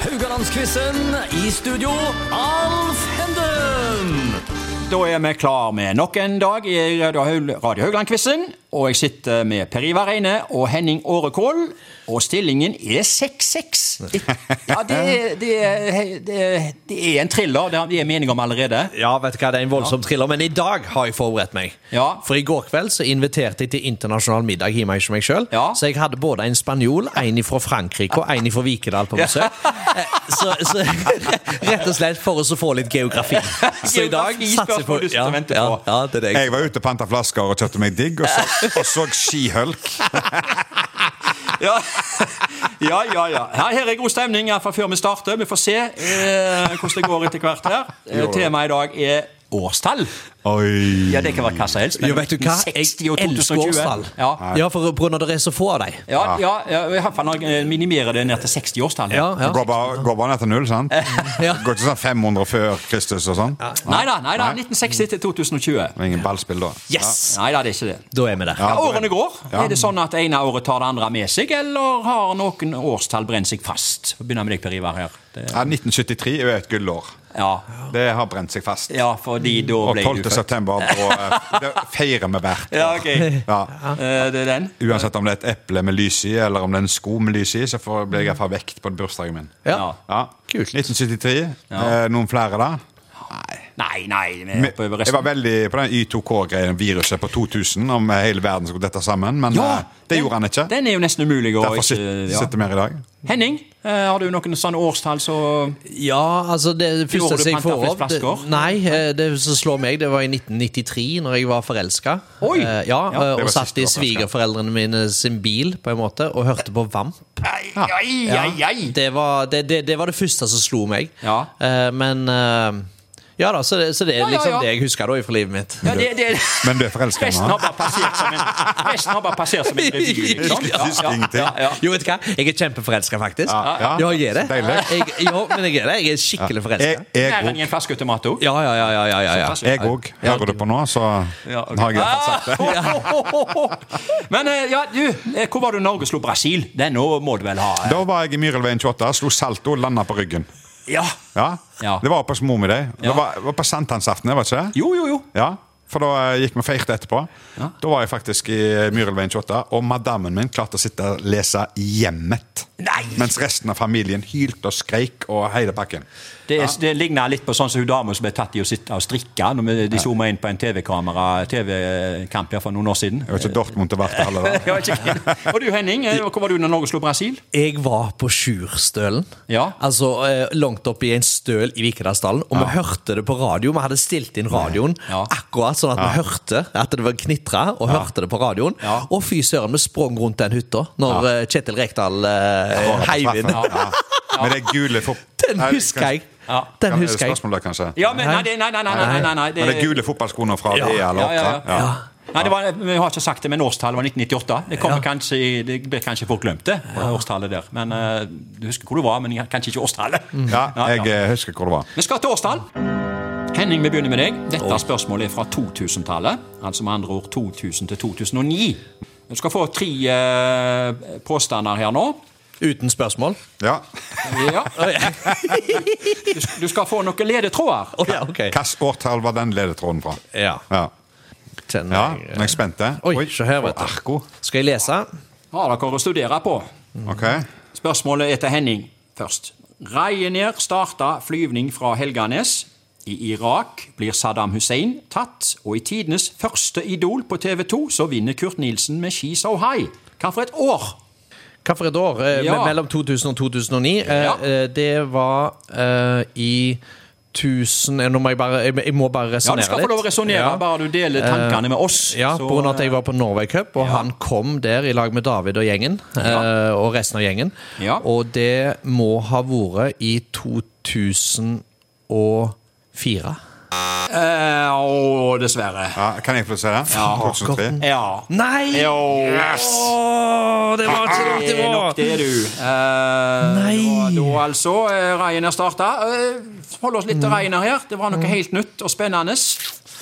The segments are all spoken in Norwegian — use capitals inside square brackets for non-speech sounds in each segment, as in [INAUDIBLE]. Haugalandsquizen. I studio, Alf Henden. Da er vi klar med nok en dag i Radio Haul- Radio Haugland-quizen. Og jeg sitter med Per Ivar Reine og Henning Årekål. Og stillingen er 6-6. Ja, det er, det, er, det, er, det er en thriller. Det har vi er mening om allerede. Ja, vet du hva, det er en voldsom thriller, men i dag har jeg forberedt meg. Ja. For i går kveld så inviterte jeg til internasjonal middag hjemme hos meg sjøl. Ja. Så jeg hadde både en spanjol, en fra Frankrike og en fra Vikedal på [LAUGHS] besøk. Eh, Så, så [LAUGHS] rett og slett for å få litt [LAUGHS] geografi. Så i dag satser Geografi, jeg på spørsmål du sitter ja, og venter ja, på. ja, det er det jeg Jeg var ute og panta flasker og kjøpte meg digg, og så, og så skihølk. Ja, ja, ja. ja. Her, her er god stemning iallfall før vi starter. Vi får se eh, hvordan det går etter hvert [LAUGHS] her. Eh, Temaet i dag er årstall. Oi. Ja, det kan være hva som helst. men Ja, vet du hva? 60 Jeg og elsker 2020. årstall. Ja. Ja, for Bruno, det er så få av dem. Ja, ja, ja, i hvert fall når jeg minimerer det ned til 60-årstallet. Ja, ja. Går bare, går bare ned til null, sant? Ja. Går ikke sånn 500 før Kristus og sånn? Nei da, nei da, 1960 til 2020. Det er ingen ballspill da. Yes! Nei da, det er ikke det. Da er vi der. Ja, Ja, årene går. Ja. Er det sånn at det ene året tar det andre med seg, eller har noen årstall brent seg fast? Vi Begynner med deg, Per Ivar. her. Det, Ja, 1973 er jo et gullår. ja. Det har brent seg fast. ja, fordi da Og ble 12. du født. september på, eh, det feirer vi hvert. Ja, ok. Ja. Eh, det er den. Uansett om det er et eple med lys i, eller om det er en sko med lys i, så får- blir jeg iallfall vekt på bursdagen min. Ja. Ja. Kult. 1973. Eh, noen flere da? Nei. Nei, nei. Vi er oppe over Jeg var resten. veldig på den Y2K-greien, viruset på 2000, om eh, hele verden skulle dette sammen. Men eh, det gjorde han ikke. Den er jo nesten umulig å Derfor sit- ikke- ja. sitter vi her i dag. Henning, eh, har du noen sånne årstall så Ja, altså det Gjorde første du som jeg får pantaflest opp det, flasker? Nei, eh, det som slår meg, det var i 1993, når jeg var forelska. Oi! Eh, Ja, Ja, eh, det og var satt i siste du var forelsket. svigerforeldrene mine sin bil, på en måte, og hørte på Vamp. Ai, ai, ai, ai. Det var det, det, det, var det første som slo meg. Ja. Eh, Men eh, Ja da, så det, så det er Ja, ja, liksom ja. det jeg husker da fra livet mitt. Ja, det, det, Men du er forelska i Resten har ham? bare passert som en, resten har bare passert som en revy. Liksom. Jeg synes ingenting. Jo, vet du hva? Jeg er kjempeforelska, faktisk. Ja, ja. jeg er det. Så deilig. Jeg, jo, men jeg er det. Jeg er skikkelig Jeg forelska. Mer enn òg. i en flaske tomato. Ja, ja, ja. ja, ja, ja, ja. altså. Jeg òg. Hører du på nå, så har jeg Ah! iallfall sagt det. Men eh, [LAUGHS] ja, du, eh, hvor var du Norge slo Brasil? Den nå må du vel ha? eh. Da var jeg i Myrelveien 28, slo salto og landa på ryggen. Ja. Ja? Ja. Det var oppe hos mor mi, det. Ja. Det var, var på sankthansaften, det, var ikke det? Jo, jo, jo. Ja, for da eh, gikk vi og feirte etterpå. Da var jeg faktisk i Myrelveien 28, og madammen min klarte å sitte og lese Hjemmet. Nei. Mens resten av familien hylte og skreik og heide pakken. Det, er- det ligner litt på sånn som hun dama som ble tatt i å sitte og strikke når vi- de zooma inn på en TV-kamera TV-kamp her for noen år [LAUGHS] siden. Det var ikke Dortmund til hvert [LAUGHS] heller. da. Ja, ikke- Og du Henning, eh, hvor var du når Norge slo Brasil? Jeg var på Sjurstølen. Ja. Altså eh, langt oppe i en støl i Vikedalsdalen. Og vi hørte det på radio. Vi hadde stilt inn radioen Ja. akkurat sånn at vi hørte at det var knitra, og hørte det på radioen. Ja. Og fy søren, vi sprang rundt den hytta når eh, Kjetil Rekdal eh, heiv inn. Ja. Med det gule fot... Den Nei, husker jeg! Ja. Den kan- kan- husker jeg. Spørsmål der, kanskje? Ja, men nei, det- nei, nei, nei, nei, nei, nei Med det gule fotballskoene fra Ja. ja. eller Ja, ja, ja. 8? Ja. Nei, det var, Vi har ikke sagt det, men årstallet var 1998. Det kommer kanskje, i- det blir kanskje folk glemt, det. årstallet der. Men eh, Du husker hvor du var, men jeg- kanskje ikke årstallet. [LAUGHS] Ja, jeg eh, husker hvor det var. Vi skal til årstall. Henning, vi begynner med deg. Dette spørsmålet er fra 2000-tallet. Altså med andre ord 2000 til 2009. Du skal få tre eh, påstander her nå. Uten spørsmål. Ja. Ja. [LAUGHS] Du, sk- du skal få noen ledetråder. Å ja, ok. Hvilket årtall var den ledetråden fra? Ja, Ja, kjenner ja jeg, nå er jeg spent. eh. det. Oi, se her, vet du. Arko. Skal jeg lese? Har dere å studere på? Ok. Spørsmålet er til Henning først. Ryanair starta flyvning fra Helganes. I Irak blir Saddam Hussein tatt, og i tidenes første Idol på TV 2 så vinner Kurt Nilsen med She So High. Hva for et år? Hva for et år? Eh, me- Ja. Mellom 2000 og 2009. Eh, Ja. eh, Det var eh, i 1000 eh, Nå må jeg bare Jeg, jeg må bare Ja, resonnere Du litt. Sånn skal få lov å resonnere, Ja. Eh, bare du deler tankene med oss. Ja, Så, på grunn av at jeg var på Norway Cup, og han kom der i lag med David og gjengen. Ja. eh, Og resten av gjengen. Ja. Og det må ha vært i 2004. eh, Å, dessverre. Ja, kan jeg få se det? Ja. 2003. Ja. Nei! Jo. Åh, det var ikke Det riktig er nok det, du. Eh, Nei. Da, da altså, eh, Ryanair starta. Eh, hold oss litt Mm. til Ryanair her. Det var noe helt nytt og spennende.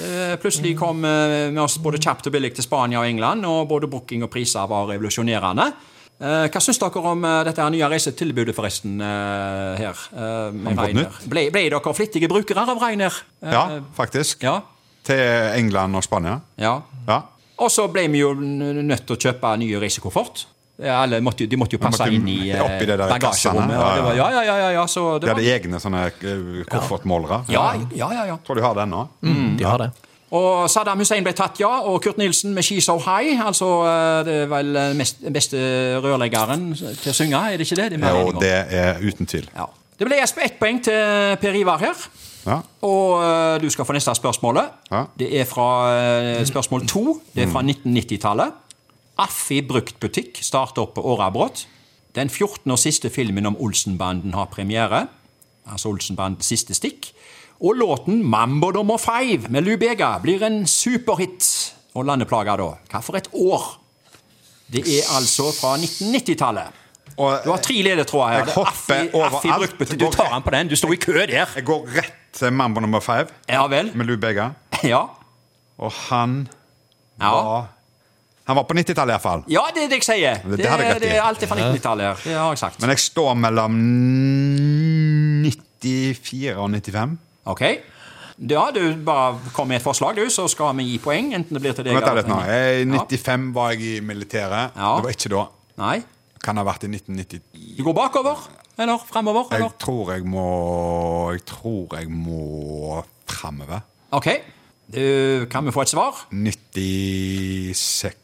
Eh, Mm. plutselig kom eh, med oss både kjapt og billig til Spania og England, og både booking og priser var revolusjonerende. Eh, Hva syns dere om eh, dette her nye reisetilbudet, forresten, eh, her? eh, med Har vi Ryanair? fått nytt? Ble, ble dere flittige brukere av Reiner? Ja, faktisk. Eh, Ja. Til England og Spania. ja. Ja. Og så ble vi jo n- nødt til å kjøpe nye reisekoffert. Eh, Alle måtte, jo- de måtte jo passe måtte jo inn i eh, oppi det der kassene, bagasjerommet. ja, og det var- Ja, ja, ja, ja, ja, så det De var, hadde egne sånne eh, koffertmålere. ja, Mm. ja, ja, ja. Tror de har den nå. De har det. Og Saddam Hussein ble tatt, ja. Og Kurt Nilsen med 'She's So High'. Altså, eh, det er vel eh, mest, beste rørleggeren til å synge, er det ikke det? det, er vi enige Og om. det er uten tvil. Ja. Det ble ett ett poeng til Per Ivar her. Ja. Og eh, du skal få neste spørsmålet. Ja. Mm. Det er fra eh, spørsmål to. Det er fra 1990-tallet. Affi bruktbutikk starter opp på Årabrot. Den 14. og siste filmen om Olsenbanden har premiere. Altså Olsenbandens siste stikk. Og låten 'Mambo nummer five' med Lubega blir en superhit. Og landeplager, da. Hva for et år? Det er altså fra 1990-tallet. Og- Du har tre ledetråder her. Jeg Det er hopper Affi- Affi overalt. bruktbutikk. Du tar den på den. Du sto i kø der. Jeg går rett til Mambo nummer five Ja vel. med Lou Bega. Ja. Og han ja. var Han var på 90-tallet iallfall. Ja, det er det jeg sier. Det- Det, det hadde jeg det, rett i. er alltid fra 1990-tallet. her. Det har jeg sagt. Men jeg står mellom 94 og 95. Ok. Ja, du bare kom med et forslag, du, så skal vi gi poeng. Enten det blir til deg Vent da litt nå. til Jeg, I meg. 95 var jeg i militæret. Ja. Det var ikke da. Ja. Nei. Kan ha vært i 1990. Du går bakover? Eller fremover? Jeg Eller? tror jeg må Jeg tror jeg må framover. Ok. Du, kan vi få et svar? 96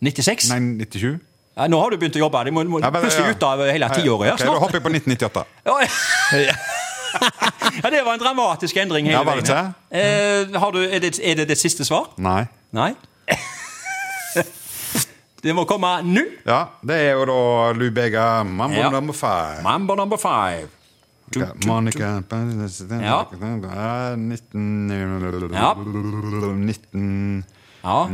96? Nei, 97? Ja, nå har du begynt å jobbe. Du må, må Ja, men- plutselig ut av hele Ja, ja. tiåret her Ok, Da snart. hopper jeg på 1998. Ja, [LAUGHS] ja, det var en dramatisk endring hele Ja, var det veien. Eh, har du, er, det, er det ditt siste svar? Nei. Nei? [LAUGHS] Det må komme nå. Ja, det er jo da Lubega Mambo Ja. number five. Mambo number five. Du, Ja, du, Monica du. ja. 19... Ja. 1997 Ja,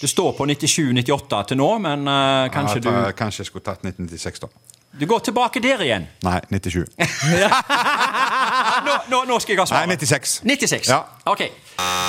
det står på 97-98 til nå, men eh, kanskje ja, ta- Kanskje jeg skulle tatt 1996, da. du Du går tilbake der igjen. Nei, 97. nå, nå, nå skal jeg ha svaret. Nei, 96. 96. Ja. Ok.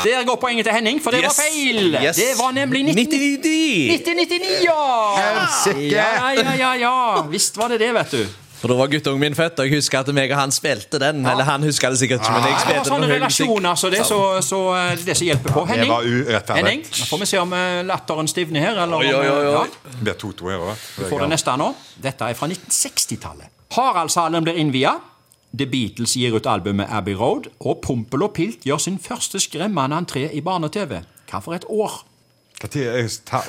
Der går poenget til Henning, for det var feil. Yes. Det var nemlig 1999, 99! 1999 ja! Helsike! Ja, ja, ja, ja. Visst var det det, vet du. For da var guttungen min født, og jeg husker at meg og han spilte den. Eller han husker det sikkert ikke, men jeg Det var spilte den. sånne med høy musikk. relasjoner, så det er så, så, eh, det som hjelper på. Henning, var urettferdig. Henning, nå får vi se om eh, latteren stivner her. Eller, Oi, om, oi, oi, eh, oi. ja. Det blir 2-2 her òg. Du får det neste nå. Dette er fra 1960-tallet. Haraldshallen blir innvia. The Beatles gir ut albumet Abbey Road, og Pompel og Pilt gjør sin første skremmende entré i barne-TV. Hva for et år?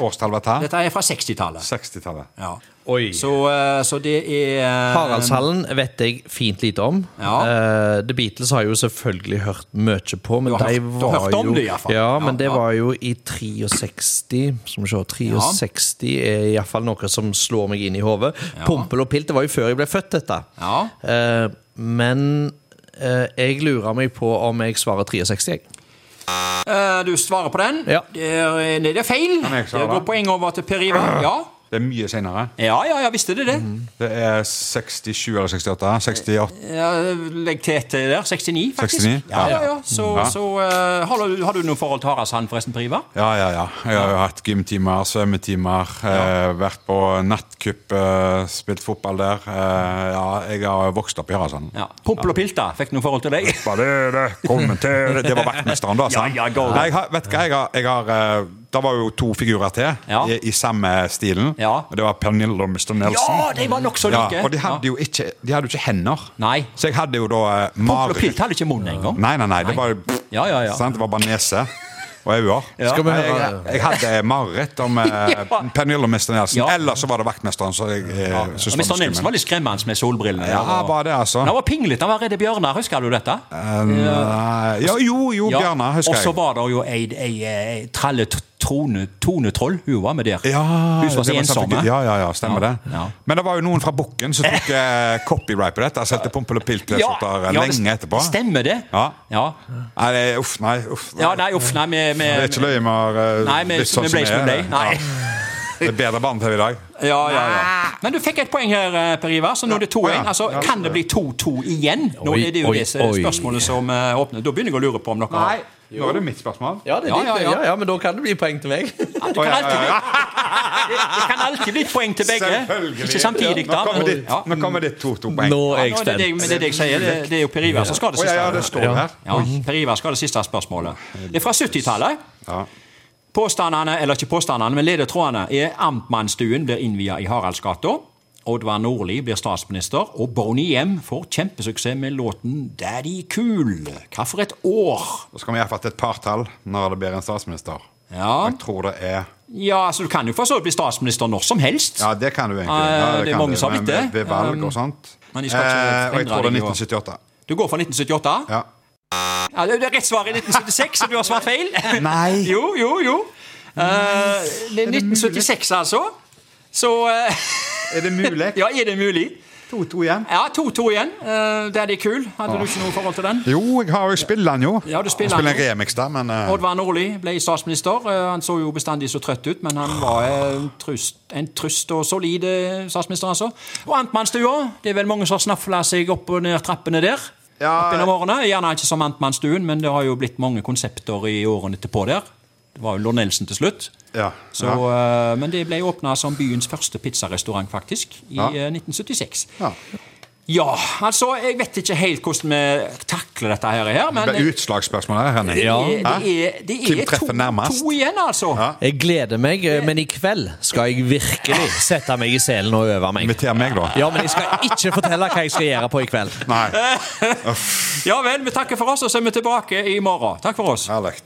Årstall var ta? Dette er fra 60-tallet. 60-tallet. Ja. Oi. Så, eh, så det er eh, Haraldshallen vet jeg fint lite om. Ja. Eh, The Beatles har jeg jo selvfølgelig hørt mye på, men Du har de hørt- du har var hørt om jo det i hvert fall. Ja, Ja, men det ja. var jo i 63 Som se, 63 er iallfall noe som slår meg inn i hodet. Pompel og pilt, det var jo før jeg ble født, dette. Ja. Eh, men eh, jeg lurer meg på om jeg svarer 63, jeg. eh, Du svarer på den. Ja. Det, er, eh, nei, det er feil. Kan jeg Det svare? går poeng over til Per Ivar. Ja. Det er mye senere. ja, ja, ja, visste du det? Det er 67 eller 68? 68? Ja, legg til etter der. 69, faktisk. 69? Ja, ja, ja. Ja. Så, Ja. så eh, har, du, har du noe forhold til Haraldshand, forresten, Per Ivar? Ja, ja, ja. Jeg har jo hatt gymtimer, svømmetimer, eh, vært på nattcup, eh, spilt fotball der. Eh, ja, jeg har vokst opp i Haraldsand. Ja. Pompel og Pilta, fikk noe forhold til deg? Hva er det? Kommer til det. Det var vaktmesteren, da. sant? [LAUGHS] Ja, ja, go. Nei, jeg har, vet du hva, jeg har, jeg har eh, Det var jo to figurer til Ja. i, i samme stilen. Ja. Og det var Pernille og Mr. Nelson. Ja, de var nokså like. og de hadde jo ikke, de hadde jo ikke hender. Nei. Så jeg hadde jo da eh, Pompel og mareritt. Pilt hadde ikke munn engang. Nei, Sånn, nei, nei. Det var, Ja, ja, ja. Sant? Det var bare nese og øyne. Skal vi Nei, høre- Jeg, jeg hadde mareritt om [LAUGHS] eh, Pernille og Mr. Nelson. Ja. Eller så var det vaktmesteren. Så jeg, eh, Og Mr. synes var litt Nilsen skummel. var litt skremmende med solbrillene. Ja, og- var det, altså. Han var pinglete, han var redd bjørner, husker du dette? Nei, Eh, ja, jo, jo, Ja. Bjarne, husker Og så jeg. var det jo ei, ei, ei tralle t- trone, tonetroll hun var med der. Ja, hun som var så det var sant, ensomme. Ja, ja, ja, stemmer Ja, det. ja. Men det var jo noen fra Bukken som tok eh, copyright på dette. Altså etter Pompel og ja, Pilt-T-skjorter det lenge etterpå. Stemmer det? Ja. Ja, Nei, det- uff, nei. uff nei. Ja, nei, uff, nei, vi, vi, [LAUGHS] Det er ikke løye med å eh, Nei, vi, litt sånn vi ble som som vi deg. er. Nei. Ja. Det er bedre barne-TV i dag. Ja, ja, ja. Men du fikk et poeng her, eh, Per Ivar, så nå er det 2-1. Å, ja. Altså, Ja. kan det bli 2-2 igjen? Nå Oi, er det jo oi, disse oi. spørsmålene som eh, åpner. Da begynner jeg å lure på om dere har Nå er det mitt spørsmål. Ja, det er Ja, ditt, ja, det. ja. ja, ja, men da kan det bli poeng til meg. Du kan ja, alltid ja, bli, det, det kan alltid bli et poeng til begge. Selvfølgelig. Ikke samtidig, Nå da. kommer men- ditt, Ja. nå kommer ditt to-to-poeng. Nå er Ja, jeg nå er det, det, spent. men det er det jeg sier, det, det er jo Per Ivar som skal ha det Å ja, siste. ja, det står det her. Ja, per Ivar skal ha det siste spørsmålet. Det er fra 70-tallet. Ja. Påstandene, eller ikke påstandene, men ledetrådene er Amtmannsstuen blir innvia i Haraldsgata. Oddvar Nordli blir statsminister, og Bonnie Hjem får kjempesuksess med låten 'Daddy Cool'. Hva for et år? Da skal vi iallfall til et partall når det blir en statsminister. Ja. Jeg tror det er Ja, altså Du kan jo for så vidt bli statsminister når som helst. Ja, det kan du egentlig. Eh, Ja, det er kan mange du, som har men blitt det. Ved, ved valg Um, og sånt. men de skal ikke Eh, og jeg forhindre tror det er deg i å- 1978. Du går for 1978? Ja. Ja, det er rett svar i 1976, så du har svart feil. Nei. Jo, jo, jo. Eh, det er 1976, altså. Så eh, Er det mulig? Ja, er det mulig? 2-2 igjen. Ja, 2-2 igjen. Eh, Daddy Cool. Hadde du ikke noe forhold til den? Jo, jeg har jo spiller den jo. Ja, du spiller jeg spiller den jo. en remix der, men eh, Oddvar Nordli ble statsminister. Eh, Han så jo bestandig så trøtt ut, men han var eh, en trust, en trust og solid eh, statsminister, altså. Og Amtmannsstua. Det er vel mange som har snafla seg opp og ned trappene der. Ja. opp gjennom årene. Gjerne ikke som Amtmannsstuen, men det har jo blitt mange konsepter i årene etterpå der. Det var jo Lord Nelson til slutt. Ja, Så, eh, Men det ble åpna som byens første pizzarestaurant, faktisk, i Ja. eh, 1976. ja. Ja, altså, jeg vet ikke helt hvordan vi takler dette her, her men Det er Utslagsspørsmål her, Henning. det, er, det, er, Hvem det er treffer nærmest? to, to igjen, altså. Ja. Jeg gleder meg, eh, men i kveld skal jeg virkelig sette meg i selen og øve meg. Inviter meg, da. Ja, men jeg skal ikke fortelle hva jeg skal gjøre på i kveld. Nei. [LAUGHS] Ja vel, vi takker for oss, og så er vi tilbake i morgen. Takk for oss. Herlig.